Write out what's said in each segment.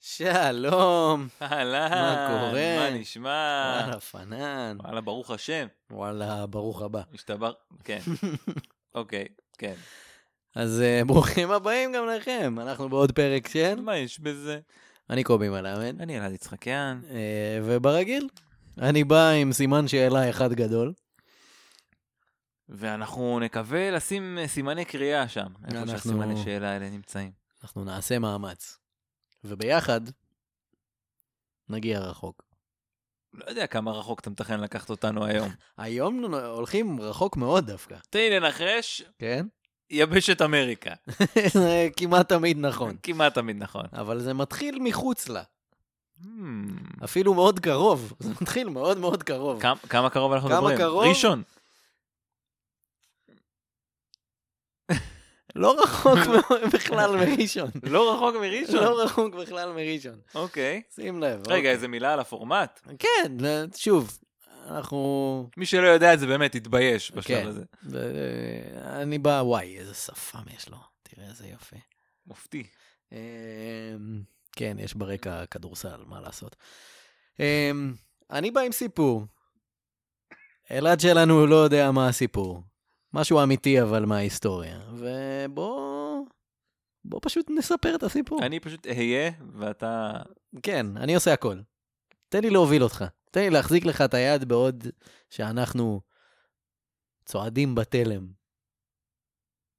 שלום, אהלן, מה קורה? מה נשמע? וואלה פנן, וואלה, ברוך השם. וואלה ברוך הבא. השתבר... כן. אוקיי, כן. אז אה, ברוכים הבאים גם לכם, אנחנו בעוד פרק של מה יש בזה? אני קובי מלמד, אני אלעד יצחקיאן. אה, וברגיל, אני בא עם סימן שאלה אחד גדול. ואנחנו נקווה לשים אה, סימני קריאה שם, איפה אנחנו- שהסימני שאלה האלה נמצאים. אנחנו נעשה מאמץ, וביחד נגיע רחוק. לא יודע כמה רחוק אתה מתכנן לקחת אותנו היום. היום נו- הולכים רחוק מאוד דווקא, תן לי לנחש, כן? יבשת אמריקה. זה כמעט תמיד נכון, כמעט תמיד נכון. אבל זה מתחיל מחוץ לה, Hmm, אפילו מאוד קרוב, זה מתחיל מאוד מאוד קרוב. כמה- כמה קרוב אנחנו כמה מדברים? קרוב? ראשון. לא רחוק מאוד בכלל מראשון. לא רחוק מראשון. לא רחוק בכלל מראשון. אוקיי. שים לב. רגע, אוקיי. איזה מילה על הפורמט. כן, ל- שוב, אנחנו... מי שלא יודע את זה באמת יתבייש כן. בשלב הזה. ב- אני בא, וואי, איזה שפם יש לו. תראה איזה יופי. מופתי. אמ, כן, יש ברקע כדורסל, מה לעשות. אמ, אני בא עם סיפור. אלעד שלנו לא יודע מה הסיפור. משהו אמיתי, אבל מההיסטוריה. ובוא... בוא פשוט נספר את הסיפור. אני פשוט אהיה, ואתה... כן, אני עושה הכל. תן לי להוביל אותך. תן לי להחזיק לך את היד בעוד שאנחנו צועדים בתלם.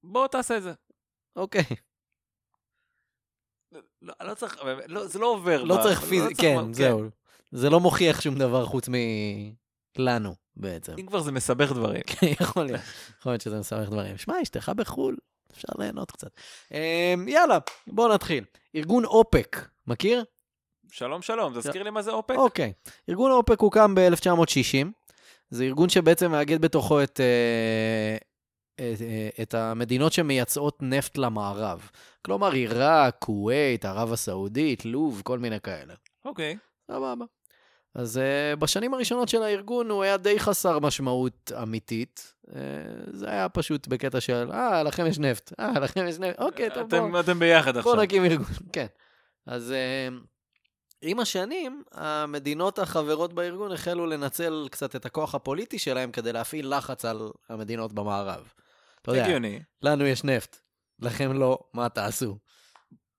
בוא תעשה את זה. אוקיי, לא, לא צריך, לא, זה לא עובר. לא ב- צריך פיזי, כן, כן. זהו. זה לא מוכיח שום דבר חוץ מלנו, בעצם. כן. אם כבר זה מסבך דברים. כן, יכול להיות. יכול להיות שזה מסבך דברים. שמע, אשתך בחו"ל, אפשר ליהנות קצת. אמ, יאללה, בואו נתחיל. ארגון אופק, מכיר? שלום, שלום, תזכיר לי מה זה אופק? לא. אוקיי. ארגון האופק הוקם ב-1960. זה ארגון שבעצם מאגד בתוכו את, אה, את, אה, את המדינות שמייצאות נפט למערב. כלומר, עיראק, כווית, ערב הסעודית, לוב, כל מיני כאלה. אוקיי. סבבה. אז uh, בשנים הראשונות של הארגון הוא היה די חסר משמעות אמיתית. Uh, זה היה פשוט בקטע של, אה, לכם יש נפט, אה, לכם יש נפט, אוקיי, טוב, בואו. אתם- אתם ביחד עכשיו. בוא נקים ארגון, כן. אז אה, עם השנים, המדינות החברות בארגון החלו לנצל קצת את הכוח הפוליטי שלהם כדי להפעיל לחץ על המדינות במערב. אתה יודע, הגיוני. לנו יש נפט, לכם לא, מה תעשו?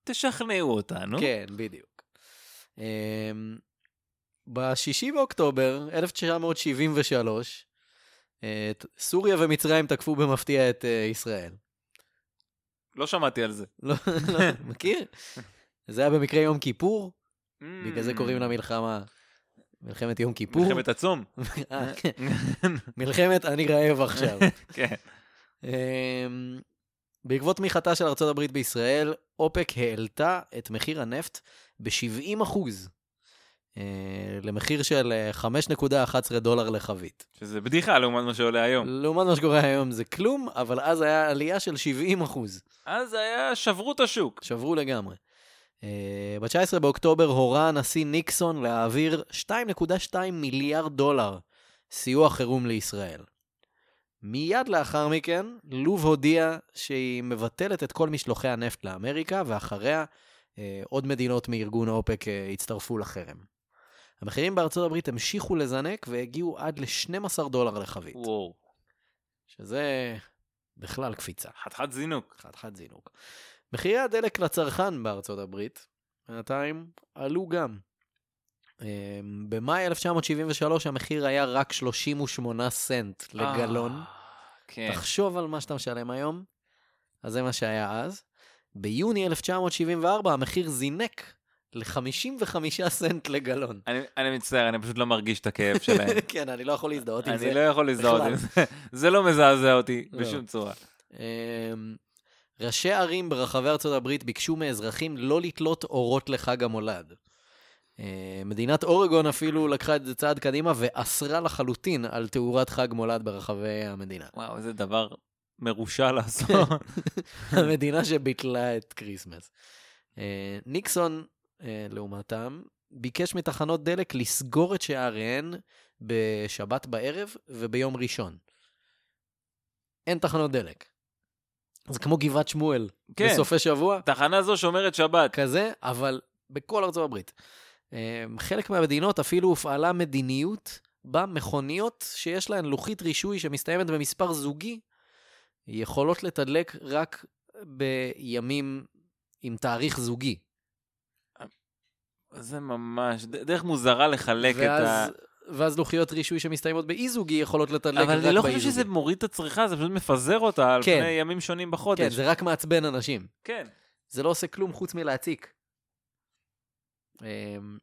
תשכנעו אותנו. כן, בדיוק. ב-6 באוקטובר 1973, אה, ת- סוריה ומצרים תקפו במפתיע את אה, ישראל. לא שמעתי על זה. לא, לא, מכיר? זה היה במקרה יום כיפור, בגלל זה קוראים Mm. למלחמה מלחמת יום כיפור. מלחמת הצום. אה, כן. מלחמת אני רעב עכשיו. כן. אמ, בעקבות תמיכתה של ארצות הברית בישראל, אופק העלתה את מחיר הנפט ב-70 אחוז, למחיר של אה, 5.11 דולר לחבית. שזה בדיחה לעומת מה שעולה היום. לעומת מה שקורה היום זה כלום, אבל אז היה עלייה של 70 אחוז. אז היה שברו את השוק. שברו לגמרי. אה, ב-19 באוקטובר הורה הנשיא ניקסון להעביר 2.2 מיליארד דולר סיוע חירום לישראל. מיד לאחר מכן, לוב הודיעה שהיא מבטלת את כל משלוחי הנפט לאמריקה, ואחריה אה, עוד מדינות מארגון האופק אה, הצטרפו לחרם. המחירים בארצות הברית המשיכו לזנק והגיעו עד ל-12 דולר לחבית, וואו. שזה בכלל קפיצה. חתיכת זינוק. חתיכת זינוק. מחירי הדלק לצרכן בארצות הברית, בינתיים, עלו גם. אה, במאי 1973 המחיר היה רק 38 סנט לגלון. אה, כן. תחשוב על מה שאתה משלם היום, אז זה מה שהיה אז. ביוני 1974 המחיר זינק ל-55 סנט לגלון. אני, אני מצטער, אני פשוט לא מרגיש את הכאב שלהם. כן, אני לא יכול להזדהות עם זה. אני לא יכול לזהות בכלל. עם זה. זה לא מזעזע אותי לא. בשום צורה. אמ, ראשי ערים ברחבי ארצות הברית ביקשו מאזרחים לא לתלות אורות לחג המולד. אה, מדינת אורגון אפילו לקחה את זה צעד קדימה ואסרה לחלוטין על תאורת חג מולד ברחבי המדינה. וואו, איזה כן. דבר מרושע לעשות. המדינה שביטלה את כריסמס. אה, ניקסון, אה, לעומתם, ביקש מתחנות דלק לסגור את שעריהן בשבת בערב וביום ראשון. אין תחנות דלק. זה כמו גבעת שמואל, כן, בסופי שבוע. תחנה זו שומרת שבת. כזה, אבל בכל ארצות הברית. אה, חלק מהמדינות אפילו הופעלה מדיניות בה מכוניות שיש להן לוחית רישוי שמסתיימת במספר זוגי, יכולות לתדלק רק בימים עם תאריך זוגי. זה ממש, ד- דרך מוזרה לחלק את ה... ואז, ואז לוחיות רישוי שמסתיימות באי-זוגי יכולות לתדלק רק אבל באי-זוגי. אני לא חושב שזה מוריד את הצריכה, זה פשוט מפזר אותה על כן. פני ימים שונים כן, בחודש. זה רק מעצבן אנשים. כן. זה לא עושה כלום חוץ מלהציק. אמ,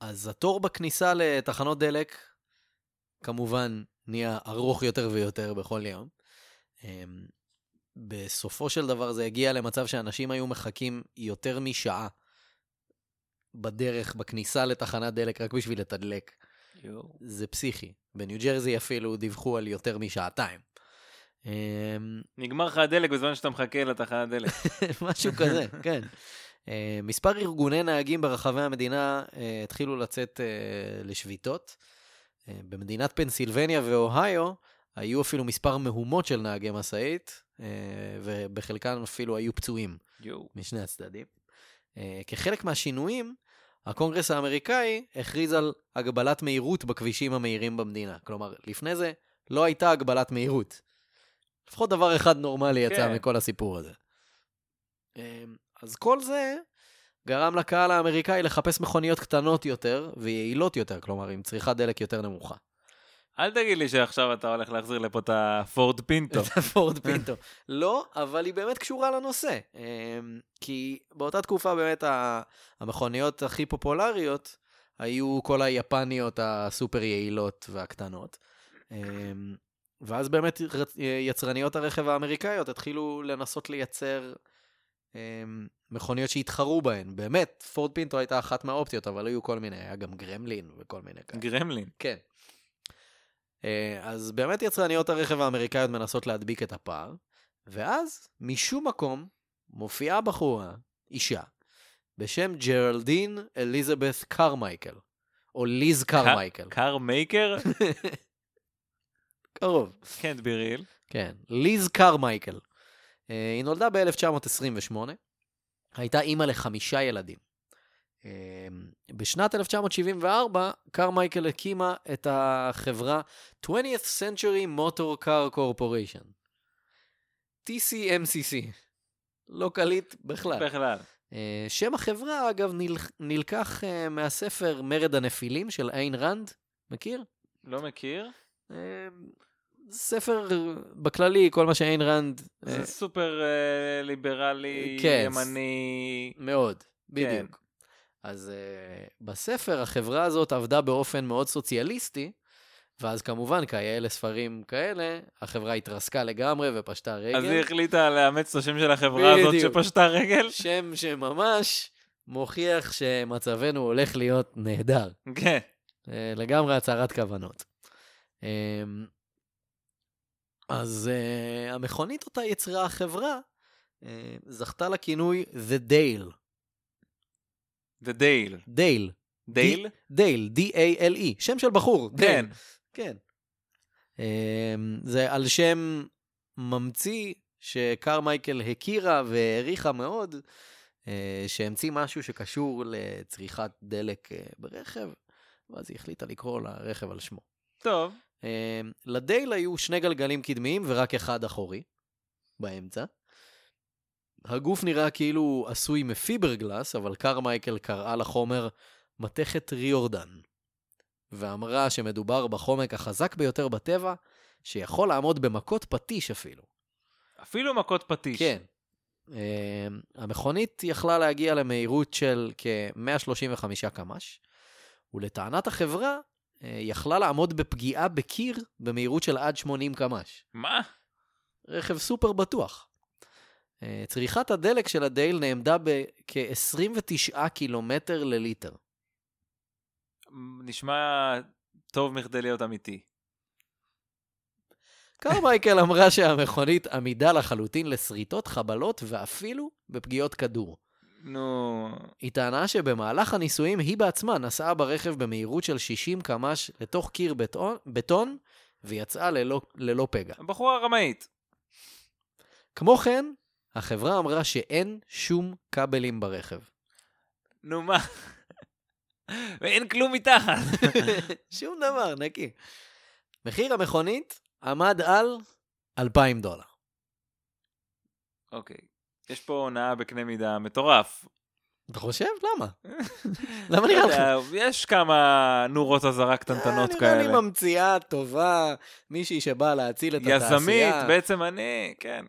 אז התור בכניסה לתחנות דלק, כמובן, נהיה ארוך יותר ויותר בכל יום. אמ, בסופו של דבר זה הגיע למצב שאנשים היו מחכים יותר משעה בדרך, בכניסה לתחנת דלק, רק בשביל לתדלק. זה פסיכי. בניו ג'רזי אפילו דיווחו על יותר משעתיים. אמ, נגמר לך הדלק בזמן שאתה מחכה לתחנת דלק. משהו כזה, כן. Uh, מספר ארגוני נהגים ברחבי המדינה uh, התחילו לצאת uh, לשביתות. Uh, במדינת פנסילבניה ואוהיו היו אפילו מספר מהומות של נהגי משאית, uh, ובחלקם אפילו היו פצועים יואו. משני הצדדים. Uh, כחלק מהשינויים, הקונגרס האמריקאי הכריז על הגבלת מהירות בכבישים המהירים במדינה. כלומר, לפני זה לא הייתה הגבלת מהירות. לפחות דבר אחד נורמלי יצא כן. מכל הסיפור הזה. אמ, אז כל זה גרם לקהל האמריקאי לחפש מכוניות קטנות יותר ויעילות יותר, כלומר, עם צריכת דלק יותר נמוכה. אל תגיד לי שעכשיו אתה הולך להחזיר לפה את הפורד פינטו. כן. את הפורד אה. פינטו. לא, אבל היא באמת קשורה לנושא. אמ, כי באותה תקופה באמת ה- המכוניות הכי פופולריות היו כל היפניות הסופר יעילות והקטנות. אמ, ואז באמת רצ- יצרניות הרכב האמריקאיות התחילו לנסות לייצר אמ, מכוניות שהתחרו בהן. באמת, פורד פינטו הייתה אחת מהאופציות, אבל היו כל מיני, היה גם גרמלין וכל מיני כאלה. גרמלין. כן. אה, אז באמת יצרניות הרכב האמריקאיות מנסות להדביק את הפער, ואז משום מקום מופיעה בחורה, אישה, בשם ג'רלדין אליזבת קרמייקל, או ליז קרמייקל, קר מייקר? קרוב. כן, ביריל. כן, ליז קרמייקל. אה, היא נולדה ב-1928, הייתה אימא לחמישה ילדים. אה, בשנת 1974, קרמייקל הקימה את החברה 20th Century Motor Car Corporation. TCMCC. לא קליט בכלל. בכלל. אה, שם החברה, אגב, נל... נלקח אה, מהספר מרד הנפילים של איין רנד. מכיר? לא מכיר? אה, ספר בכללי, כל מה שאיין רנד... אה, זה סופר אה, ליברלי, כן. ימני. מאוד, כן. בדיוק. אז uh, בספר החברה הזאת עבדה באופן מאוד סוציאליסטי, ואז כמובן, כאלה ספרים כאלה, החברה התרסקה לגמרי ופשטה רגל. אז היא החליטה לאמץ את השם של החברה הזאת בדיוק. שפשטה רגל? שם שממש מוכיח שמצבנו הולך להיות נהדר. כן. אה, לגמרי הצהרת כוונות. אמ, אז אה, המכונית אותה יצרה החברה, אה, זכתה לכינוי The Dale. The Dale. דייל. דייל? דייל, D-A-L-E, E. שם של בחור, כן. דייל. כן. אמ, זה על שם ממציא שקרמייקל הכירה והעריכה מאוד, אה, שהמציא משהו שקשור לצריכת דלק אה, ברכב, ואז היא החליטה לקרוא לרכב על שמו. טוב. אמ, לדייל היו שני גלגלים קדמיים ורק אחד אחורי, באמצע. הגוף נראה כאילו עשוי מפיברגלס, אבל קרמייקל קראה לחומר מתכת ריורדן, ואמרה שמדובר בחומק החזק ביותר בטבע, שיכול לעמוד במכות פטיש אפילו. אפילו מכות פטיש. כן. אמ, המכונית יכלה להגיע למהירות של כ-135 קמ"ש, ולטענת החברה, אה, יכלה לעמוד בפגיעה בקיר במהירות של עד 80 קמ"ש. מה? רכב סופר בטוח. אה, צריכת הדלק של הדייל נעמדה בכ-29 קילומטר לליטר. נשמע טוב מכדי להיות אמיתי. קרמייקל אמרה שהמכונית עמידה לחלוטין לשריטות, חבלות ואפילו בפגיעות כדור. נו, היא טענה שבמהלך הניסויים היא בעצמה נסעה ברכב במהירות של 60 קמ"ש לתוך קיר בטון, בטון ויצאה ללא, ללא פגע. הבחורה הרמאית. כמו כן, החברה אמרה שאין שום כבלים ברכב. נו מה? ואין כלום מתחת. שום דבר, נקי. מחיר המכונית עמד על 2,000 דולר. אוקיי. יש פה הונאה בקנה מידה מטורף. אתה חושב? למה? למה נראה לך? אתה יודע, יש כמה נורות אזהרה קטנטנות אה, נראה לי כאלה. ממציאה טובה, מישהי שבאה להציל את התעשייה. יזמית, בעצם אני, כן.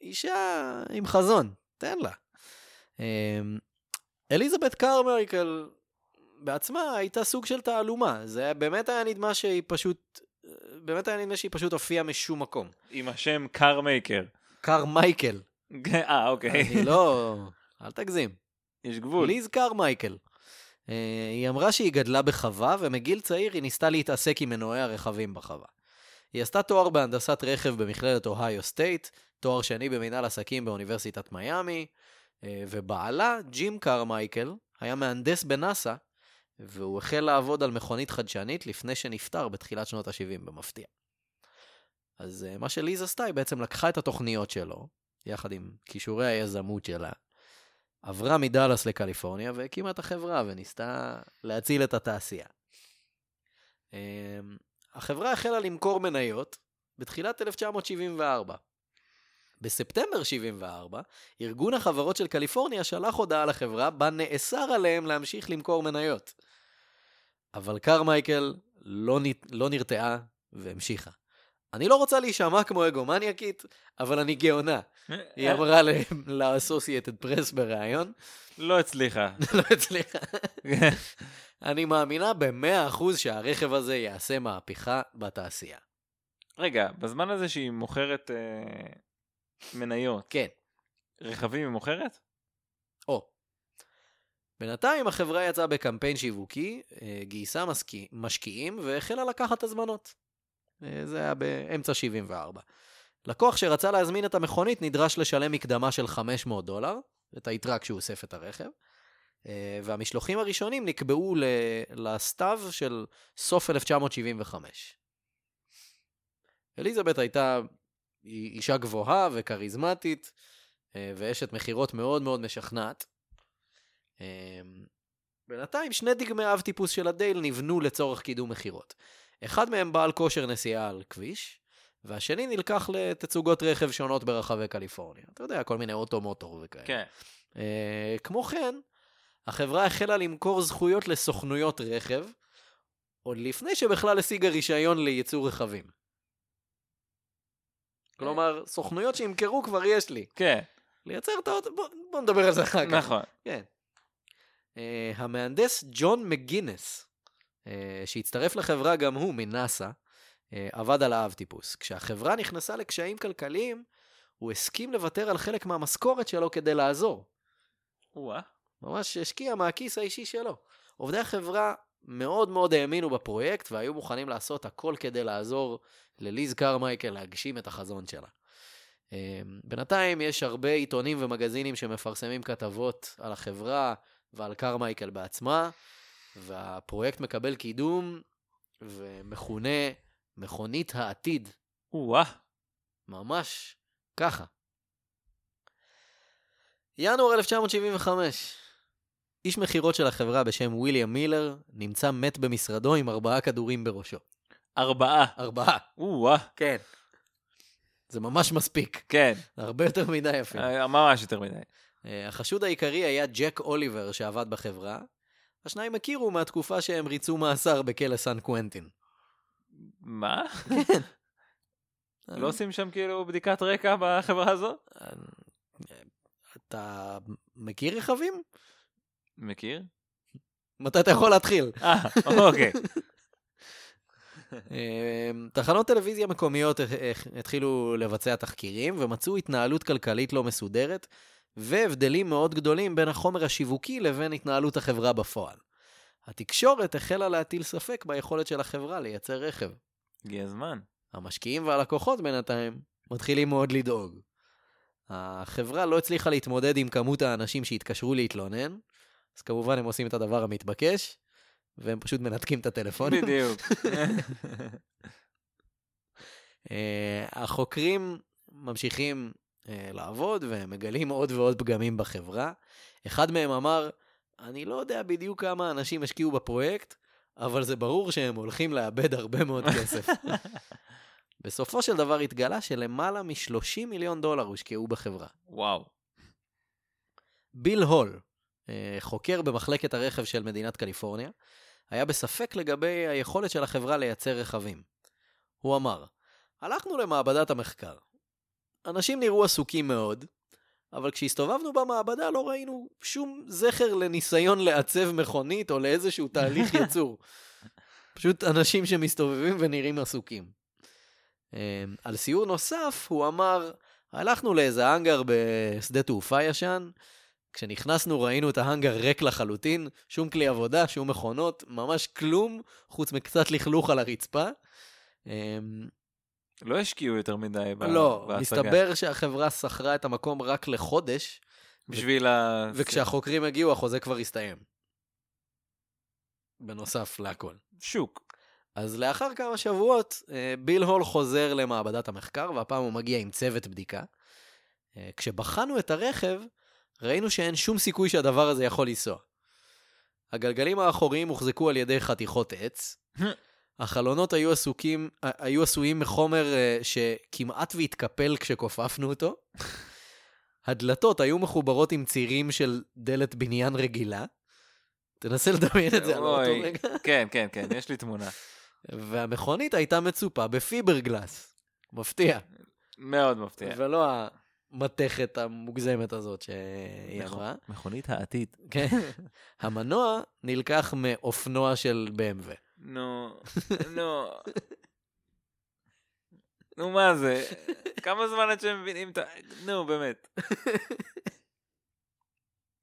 אישה עם חזון, תן לה. אמ, אליזבת קרמייקל בעצמה הייתה סוג של תעלומה. זה היה- באמת היה נדמה שהיא פשוט, באמת היה נדמה שהיא פשוט הופיעה משום מקום. עם השם קארמייקר. קרמייקל. אה, אוקיי. אני לא... אל תגזים. יש גבול. ליז קרמייקל. אה, היא אמרה שהיא גדלה בחווה, ומגיל צעיר היא ניסתה להתעסק עם מנועי הרכבים בחווה. היא עשתה תואר בהנדסת רכב במכללת אוהיו סטייט, תואר שני במנהל עסקים באוניברסיטת מיאמי, אה, ובעלה, ג'ים קרמייקל, היה מהנדס בנאסא, והוא החל לעבוד על מכונית חדשנית לפני שנפטר בתחילת שנות ה-70 במפתיע. אז אה, מה שליז עשתה, היא בעצם לקחה את התוכניות שלו, יחד עם כישורי היזמות שלה, עברה מדאלאס לקליפורניה והקימה את החברה וניסתה להציל את התעשייה. אמ, החברה החלה למכור מניות בתחילת 1974. בספטמבר 74, ארגון החברות של קליפורניה שלח הודעה לחברה בה נאסר עליהם להמשיך למכור מניות. אבל קרמייקל לא, נ- לא נרתעה והמשיכה. אני לא רוצה להישמע כמו אגומניאקית, אבל אני גאונה. היא אה. אמרה ל-Associated Press בריאיון, לא הצליחה. לא הצליחה. אני מאמינה במאה אחוז שהרכב הזה יעשה מהפכה בתעשייה. רגע, בזמן הזה שהיא מוכרת אה, מניות, כן. רכבים היא מוכרת? או. בינתיים החברה יצאה בקמפיין שיווקי, אה, גייסה משקיע, משקיעים והחלה לקחת הזמנות. אה, זה היה באמצע 74. לקוח שרצה להזמין את המכונית נדרש לשלם מקדמה של 500 דולר, את היתרה כשהוא אוסף את הרכב, אה, והמשלוחים הראשונים נקבעו ל- לסתיו של סוף 1975. אליזבת הייתה היא אישה גבוהה וכריזמטית, אה, ואשת מכירות מאוד מאוד משכנעת. אה, בינתיים שני דגמי אב טיפוס של הדייל נבנו לצורך קידום מכירות. אחד מהם בעל כושר נסיעה על כביש, והשני נלקח לתצוגות רכב שונות ברחבי קליפורניה. אתה יודע, כל מיני אוטו-מוטור וכאלה. כן. אה, כמו כן, החברה החלה למכור זכויות לסוכנויות רכב, עוד לפני שבכלל השיגה רישיון לייצור רכבים. כלומר, סוכנויות שימכרו כבר יש לי. כן, לייצר את האוטו, בוא, בוא נדבר על זה אחר כך. נכון. כן. Uh, המהנדס ג'ון מגינס, uh, שהצטרף לחברה גם הוא מנאסא, uh, עבד על האב טיפוס. כשהחברה נכנסה לקשיים כלכליים, הוא הסכים לוותר על חלק מהמשכורת שלו כדי לעזור. או-אה. ממש השקיע מהכיס האישי שלו. עובדי החברה מאוד מאוד האמינו בפרויקט והיו מוכנים לעשות הכל כדי לעזור לליז קרמייקל להגשים את החזון שלה. אה, בינתיים יש הרבה עיתונים ומגזינים שמפרסמים כתבות על החברה ועל קרמייקל בעצמה, והפרויקט מקבל קידום ומכונה מכונית העתיד או-אה. ממש ככה. ינואר 1975, איש מכירות של החברה בשם ויליאם מילר נמצא מת במשרדו עם ארבעה כדורים בראשו. ארבעה. ארבעה. או-אה. כן. זה ממש מספיק, כן, הרבה יותר מדי אפילו. אה, ממש יותר מדי. אה, החשוד העיקרי היה ג'ק אוליבר שעבד בחברה. השניים הכירו מהתקופה שהם ריצו מאסר בכלא סן קוונטין. מה? כן. לא עושים שם כאילו בדיקת רקע בחברה הזו? אה, אתה מכיר רכבים? מכיר? מתי אתה יכול להתחיל? אה, אוקיי. אמ, תחנות טלוויזיה מקומיות הח- הח- התחילו לבצע תחקירים ומצאו התנהלות כלכלית לא מסודרת והבדלים מאוד גדולים בין החומר השיווקי לבין התנהלות החברה בפועל. התקשורת החלה להטיל ספק ביכולת של החברה לייצר רכב. הגיע הזמן. המשקיעים והלקוחות בינתיים מתחילים מאוד לדאוג. החברה לא הצליחה להתמודד עם כמות האנשים שהתקשרו להתלונן, אז כמובן הם עושים את הדבר המתבקש, והם פשוט מנתקים את הטלפונים. בדיוק. אה, החוקרים ממשיכים אה, לעבוד והם מגלים עוד ועוד פגמים בחברה. אחד מהם אמר, אני לא יודע בדיוק כמה אנשים השקיעו בפרויקט, אבל זה ברור שהם הולכים לאבד הרבה מאוד כסף. בסופו של דבר התגלה שלמעלה מ-30 מיליון דולר הושקעו בחברה. וואו. ביל הול, אה, חוקר במחלקת הרכב של מדינת קליפורניה, היה בספק לגבי היכולת של החברה לייצר רכבים. הוא אמר, הלכנו למעבדת המחקר. אנשים נראו עסוקים מאוד, אבל כשהסתובבנו במעבדה לא ראינו שום זכר לניסיון לעצב מכונית או לאיזשהו תהליך ייצור. פשוט אנשים שמסתובבים ונראים עסוקים. אה, על סיור נוסף, הוא אמר, הלכנו לאיזה האנגר בשדה תעופה ישן, כשנכנסנו ראינו את ההאנגר ריק לחלוטין, שום כלי עבודה, שום מכונות, ממש כלום, חוץ מקצת לכלוך על הרצפה. אמ, לא השקיעו יותר מדי ב- לא, בהצגה. מסתבר שהחברה שכרה את המקום רק לחודש, בשביל ה... וכשהחוקרים הגיעו החוזה כבר הסתיים. בנוסף להכל. שוק. אז לאחר כמה שבועות, אה, ביל הול חוזר למעבדת המחקר, והפעם הוא מגיע עם צוות בדיקה. אה, כשבחנו את הרכב, ראינו שאין שום סיכוי שהדבר הזה יכול לנסוע. הגלגלים האחוריים הוחזקו על ידי חתיכות עץ. החלונות היו, עסוקים, אה, היו עשויים מחומר אה, שכמעט והתקפל כשכופפנו אותו. הדלתות היו מחוברות עם צירים של דלת בניין רגילה. תנסה לדמיין את זה על אותו אוי. רגע. כן, כן, כן, יש לי תמונה. והמכונית הייתה מצופה בפיברגלס. מפתיע. מאוד מפתיע. ולא המתכת המוגזמת הזאת שהיא נכון. אמרה. מכונית העתיד. כן. המנוע נלקח מאופנוע של BMW. נו, נו. נו, מה זה? כמה זמן עד שהם מבינים את ה... נו, באמת.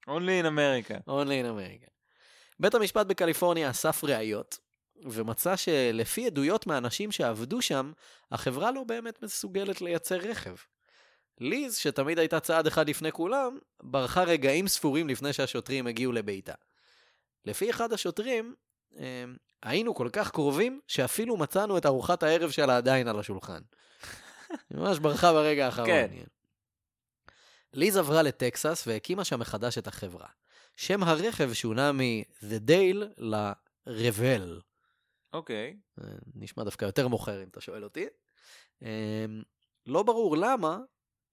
Only in America. Only in America. בית המשפט בקליפורניה אסף ראיות, ומצא שלפי עדויות מאנשים שעבדו שם, החברה לא באמת מסוגלת לייצר רכב. ליז, שתמיד הייתה צעד אחד לפני כולם, ברחה רגעים ספורים לפני שהשוטרים הגיעו לביתה. לפי אחד השוטרים, אה, היינו כל כך קרובים, שאפילו מצאנו את ארוחת הערב שלה עדיין על השולחן. היא ממש ברחה ברגע האחרון. כן. ליז עברה לטקסס והקימה שם מחדש את החברה. שם הרכב שונה מ-The Dale ל-Revel. אוקיי. אה, נשמע דווקא יותר מוכר אם אתה שואל אותי. אה, לא ברור למה,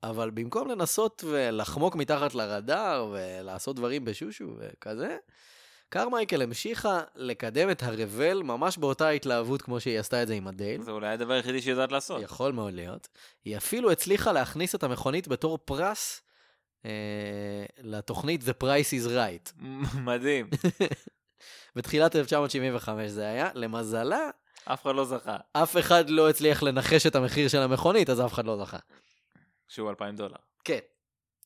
אבל במקום לנסות ולחמוק מתחת לרדאר ולעשות דברים בשושו וכזה, קרמייקל המשיכה לקדם את הרבל ממש באותה התלהבות כמו שהיא עשתה את זה עם הדייל. זה נכון. אולי הדבר היחידי שהיא יודעת לעשות. כן. יכול מאוד להיות. היא אפילו הצליחה להכניס את המכונית בתור פרס אה, לתוכנית The Price is Right. מדהים. בתחילת 1975 זה היה. למזלה, אף אחד לא זכה. אף אחד לא הצליח לנחש את המחיר של המכונית, אז אף אחד לא זכה. שהוא 2,000 דולר. כן.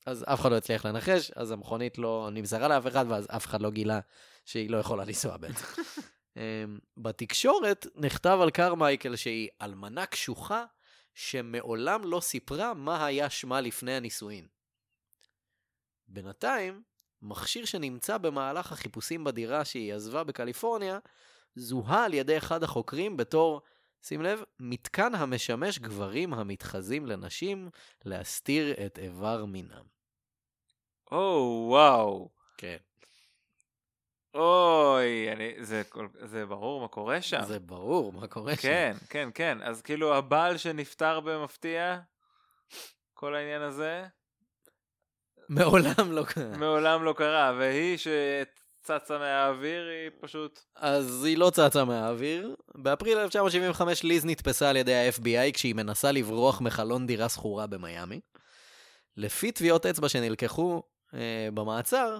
אז אף אחד לא הצליח לנחש, אז המכונית לא נמסרה לאף אחד, ואז אף אחד לא גילה שהיא לא יכולה לנסוע בעצם. אמ, בתקשורת נכתב על קרמייקל שהיא אלמנה קשוחה, שמעולם לא סיפרה מה היה שמה לפני הנישואין. בינתיים, מכשיר שנמצא במהלך החיפושים בדירה שהיא עזבה בקליפורניה, זוהה על ידי אחד החוקרים בתור, שים לב, מתקן המשמש גברים המתחזים לנשים להסתיר את איבר מינם. או, וואו. כן. אוי, אני, זה, כל, זה ברור מה קורה שם. זה ברור מה קורה שם. כן, כן, כן. אז כאילו הבעל שנפטר במפתיע, כל העניין הזה, מעולם לא קרה. מעולם לא קרה, והיא שצצה מהאוויר, היא פשוט... אז היא לא צצה מהאוויר. באפריל 1975 ליז נתפסה על ידי ה-FBI כשהיא מנסה לברוח מחלון דירה שכורה במיאמי. לפי טביעות אצבע שנלקחו אה, במעצר,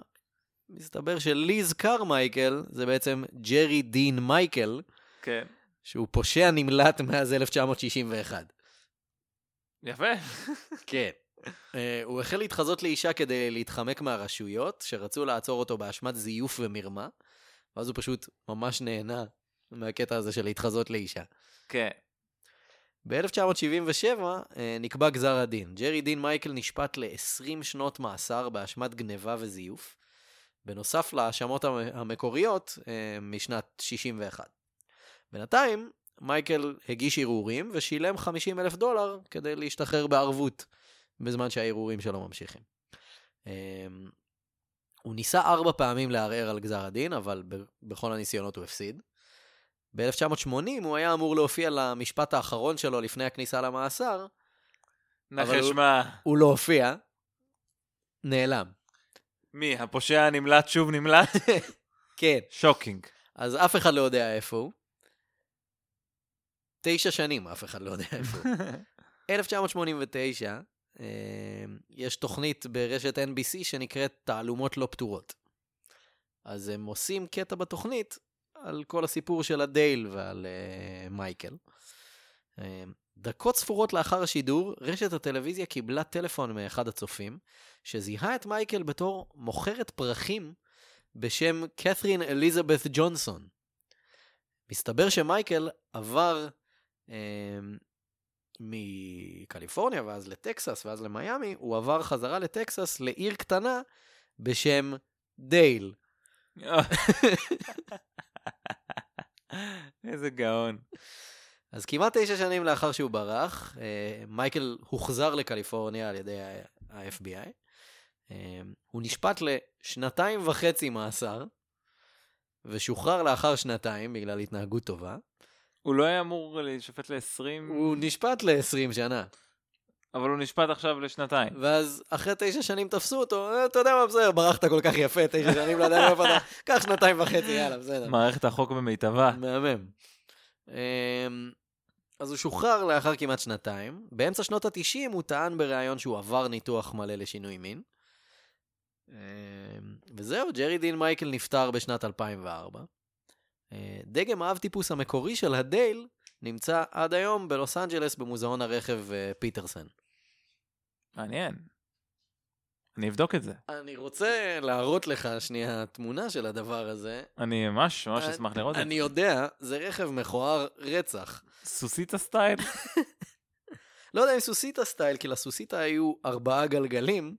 מסתבר שליז קרמייקל זה בעצם ג'רי דין מייקל, כן. שהוא פושע נמלט מאז 1961. יפה. כן. אה, הוא החל להתחזות לאישה כדי להתחמק מהרשויות, שרצו לעצור אותו באשמת זיוף ומרמה, ואז הוא פשוט ממש נהנה מהקטע הזה של להתחזות לאישה. כן. ב-1977 אה, נקבע גזר הדין. ג'רי דין מייקל נשפט ל-20 שנות מאסר באשמת גניבה וזיוף, בנוסף להאשמות המ- המקוריות אה, משנת 61. בינתיים, מייקל הגיש ערעורים ושילם 50 אלף דולר כדי להשתחרר בערבות, בזמן שהערעורים שלו ממשיכים. אה, הוא ניסה ארבע פעמים לערער על גזר הדין, אבל ב- בכל הניסיונות הוא הפסיד. ב-1980 הוא היה אמור להופיע למשפט האחרון שלו לפני הכניסה למאסר, אבל נחש הוא- מה? הוא לא הופיע, נעלם. מי? הפושע הנמלט שוב נמלט? כן. שוקינג. אז אף אחד לא יודע איפה הוא. תשע שנים אף אחד לא יודע איפה הוא. 1989, אה, יש תוכנית ברשת NBC שנקראת תעלומות לא פתורות. אז הם עושים קטע בתוכנית על כל הסיפור של הדייל ועל אה, מייקל. אה, דקות ספורות לאחר השידור, רשת הטלוויזיה קיבלה טלפון מאחד הצופים, שזיהה את מייקל בתור מוכרת פרחים בשם קת'רין אליזבת ג'ונסון. מסתבר שמייקל עבר אה, מקליפורניה ואז לטקסס ואז למיאמי, הוא עבר חזרה לטקסס לעיר קטנה בשם דייל. איזה גאון. אז כמעט תשע שנים לאחר שהוא ברח, אה, מייקל הוחזר לקליפורניה על ידי ה-FBI. אה, הוא נשפט לשנתיים וחצי מאסר, ושוחרר לאחר שנתיים בגלל התנהגות טובה. הוא לא היה אמור להישפט ל-20, הוא נשפט ל-20 שנה. אבל הוא נשפט עכשיו לשנתיים. ואז אחרי תשע שנים תפסו אותו, "אה, אתה יודע מה, בסדר, ברחת כל כך יפה, תשע שנים, לא יודע מאיפה אתה, קח שנתיים וחצי, יאללה, בסדר. מערכת החוק במיטבה. מהמם. אמ, אז הוא שוחרר לאחר כמעט שנתיים. באמצע שנות ה-90 הוא טען בריאיון שהוא עבר ניתוח מלא לשינוי מין. אמ, וזהו, ג'רי דין מייקל נפטר בשנת 2004. אה, דגם האב טיפוס המקורי של הדייל נמצא עד היום בלוס אנג'לס במוזיאון הרכב אה, פיטרסן. מעניין. אני אבדוק את זה. אני רוצה להראות לך שנייה תמונה של הדבר הזה. אני ממש ממש אשמח לראות את אה, אני יודע, זה רכב מכוער רצח. זה. סוסיתא סטייל? לא יודע אם סוסיתא סטייל, כי לסוסיתא היו ארבעה גלגלים.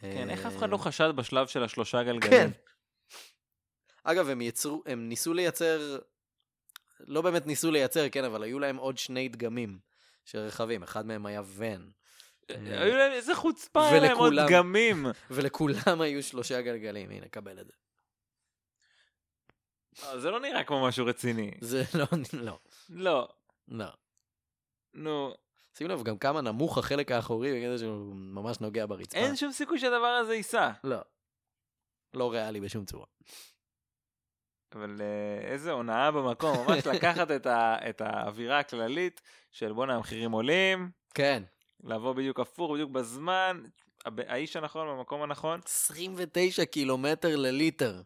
כן, אה, איך אף אחד לא חשד בשלב של השלושה כן. גלגלים? אגב, הם יצרו, הם ניסו לייצר, לא באמת ניסו לייצר, כן, אבל היו להם עוד שני דגמים של רכבים, אחד מהם היה ון, אה, היו להם איזה חוצפה, היה להם עוד ולכולם. דגמים. ולכולם היו שלושה גלגלים, הנה, קבל את זה. אה, זה לא נראה כמו משהו רציני. זה לא, לא, לא. לא. נו, שים לב גם כמה נמוך החלק האחורי, בגלל זה שהוא ממש נוגע ברצפה. אין שום סיכוי שהדבר הזה ייסע. לא. לא ריאלי בשום צורה. אבל אה, איזה הונאה במקום, ממש לקחת את, ה, את האווירה הכללית של בואנה המחירים עולים, כן. לבוא בדיוק הפוך, בדיוק בזמן, הב- האיש הנכון במקום הנכון. 29 קילומטר לליטר.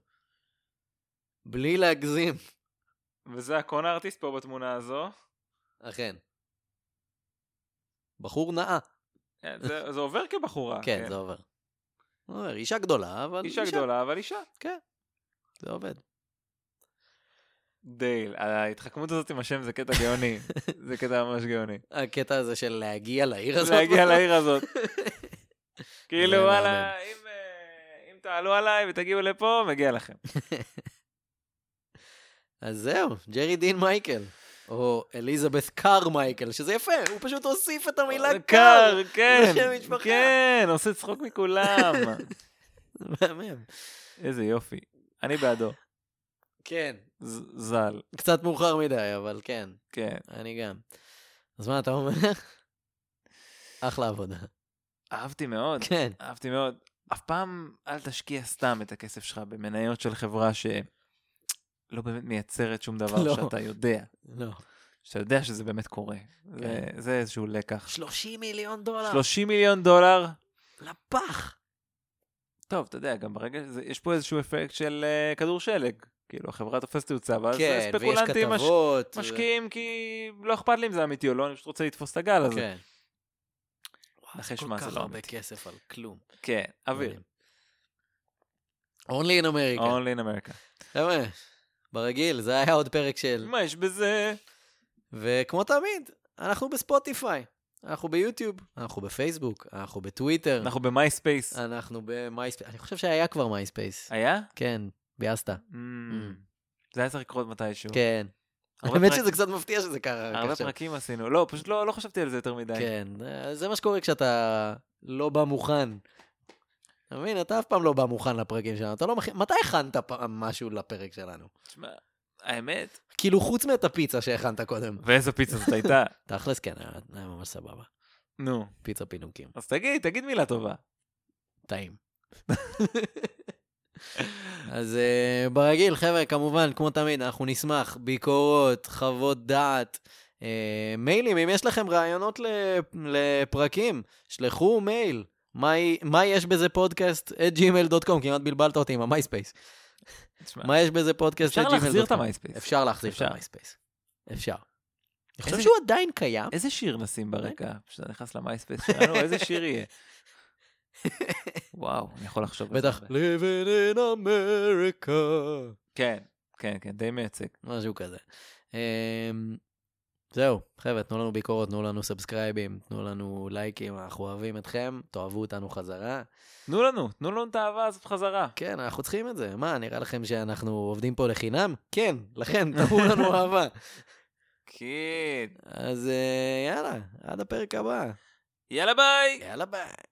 בלי להגזים. וזה הקון ארטיסט פה בתמונה הזו. אכן. בחור נאה. אה, זה, זה עובר כבחורה. כן, זה עובר. זה עובר. אישה גדולה, אבל אה, אישה גדולה, אבל אישה. זה עובד. דייל, ההתחכמות הזאת עם השם זה קטע גאוני. זה קטע ממש גאוני. הקטע הזה של להגיע לעיר הזאת. להגיע לעיר הזאת. כאילו, זה וואלה, מהמם. אם, אה, אם תעלו עליי ותגיעו לפה, מגיע לכם. אז זהו, ג'רי דין מייקל. או אליזבת קאר מייקל, שזה יפה, הוא פשוט הוסיף את המילה קאר. כן, לשם משפחה. כן, עושה צחוק מכולם. מהמם. איזה יופי. אני בעדו. כן, ז- ז"ל, קצת מאוחר מדי, אבל כן, כן. אני גם. אז מה אתה אומר? אחלה עבודה. אהבתי מאוד, כן. אהבתי מאוד. אף פעם אל תשקיע סתם את הכסף שלך במניות של חברה שלא באמת מייצרת שום דבר לא. שאתה יודע. לא. שאתה יודע שזה באמת קורה. זה- זה איזשהו לקח. 30 מיליון דולר. 30 מיליון דולר, לפח. טוב, אתה יודע, גם ברגע, זה- יש פה איזשהו אפקט של אה, כדור שלג. כאילו, החברה תופסת תאוצה, ואז כן, ויש ספקולנטים מש- כתבות. אה. משקיעים כי לא אכפת לי אם זה אמיתי או לא, אני פשוט רוצה לתפוס את הגל הזה. כן. נחש כל מה, זה כך לא הרבה אמיתי. כסף על כלום. כן, אוויר. Only in America. Only in America. חבר'ה, ברגיל, זה היה עוד פרק של... מה יש בזה? וכמו תמיד, אנחנו בספוטיפיי, אנחנו ביוטיוב, אנחנו בפייסבוק, אנחנו בטוויטר, אנחנו במייספייס. אנחנו במייספייס. אני חושב שהיה כבר מייספייס. היה? כן, ביאסת. Mm. זה היה צריך לקרות מתישהו. אמ. כן. הרבה האמת פרק- שזה קצת מפתיע שזה קרה. רק הרבה עכשיו. פרקים עשינו. לא, פשוט לא אה, לא חשבתי על זה יותר מדי. כן, זה מה שקורה כשאתה לא בא מוכן. אתה מבין? אתה אף פעם לא בא מוכן לפרקים שלנו. אתה לא מכין... מתי הכנת פעם משהו לפרק שלנו? תשמע, האמת. כאילו, חוץ מאת הפיצה שהכנת קודם. ואיזו פיצה זאת הייתה? תכלס, כן, היה היה ממש סבבה. נו. פיצה פינוקים. אז תגיד, תגיד מילה טובה. טעים. אז אה, ברגיל, חבר'ה, כמובן, כמו תמיד, אנחנו נשמח, ביקורות, חוות דעת, אה, מיילים, אם יש לכם רעיונות לפ- לפרקים, שלחו מייל. מה היא- מה יש בזה פודקאסט? את gmail.com, כמעט בלבלת אותי עם המייספייס. תשמע, מה יש בזה פודקאסט? אפשר at להחזיר gmail.com? את המייספייס. אפשר להחזיר את אפשר. המייספייס. אפשר. אני חושב איזה- שהוא עדיין קיים. איזה שיר נשים ברקע? אוקיי. כשאתה נכנס למייספייס שלנו, איזה שיר יהיה? וואו, אני יכול לחשוב על זה. בטח. הרבה. Living in America. כן, כן, כן, די מייצג. משהו כזה. אמ, זהו, חבר'ה, תנו לנו ביקורות, תנו לנו סאבסקרייבים, תנו לנו לייקים, אנחנו אוהבים אתכם, תאהבו אותנו חזרה. תנו לנו, תנו לנו את האהבה הזאת חזרה. כן, אנחנו צריכים את זה. מה, נראה לכם שאנחנו עובדים פה לחינם? כן, לכן, תראו לנו אהבה. כן. אז אה, יאללה, עד הפרק הבא. יאללה ביי! יאללה ביי.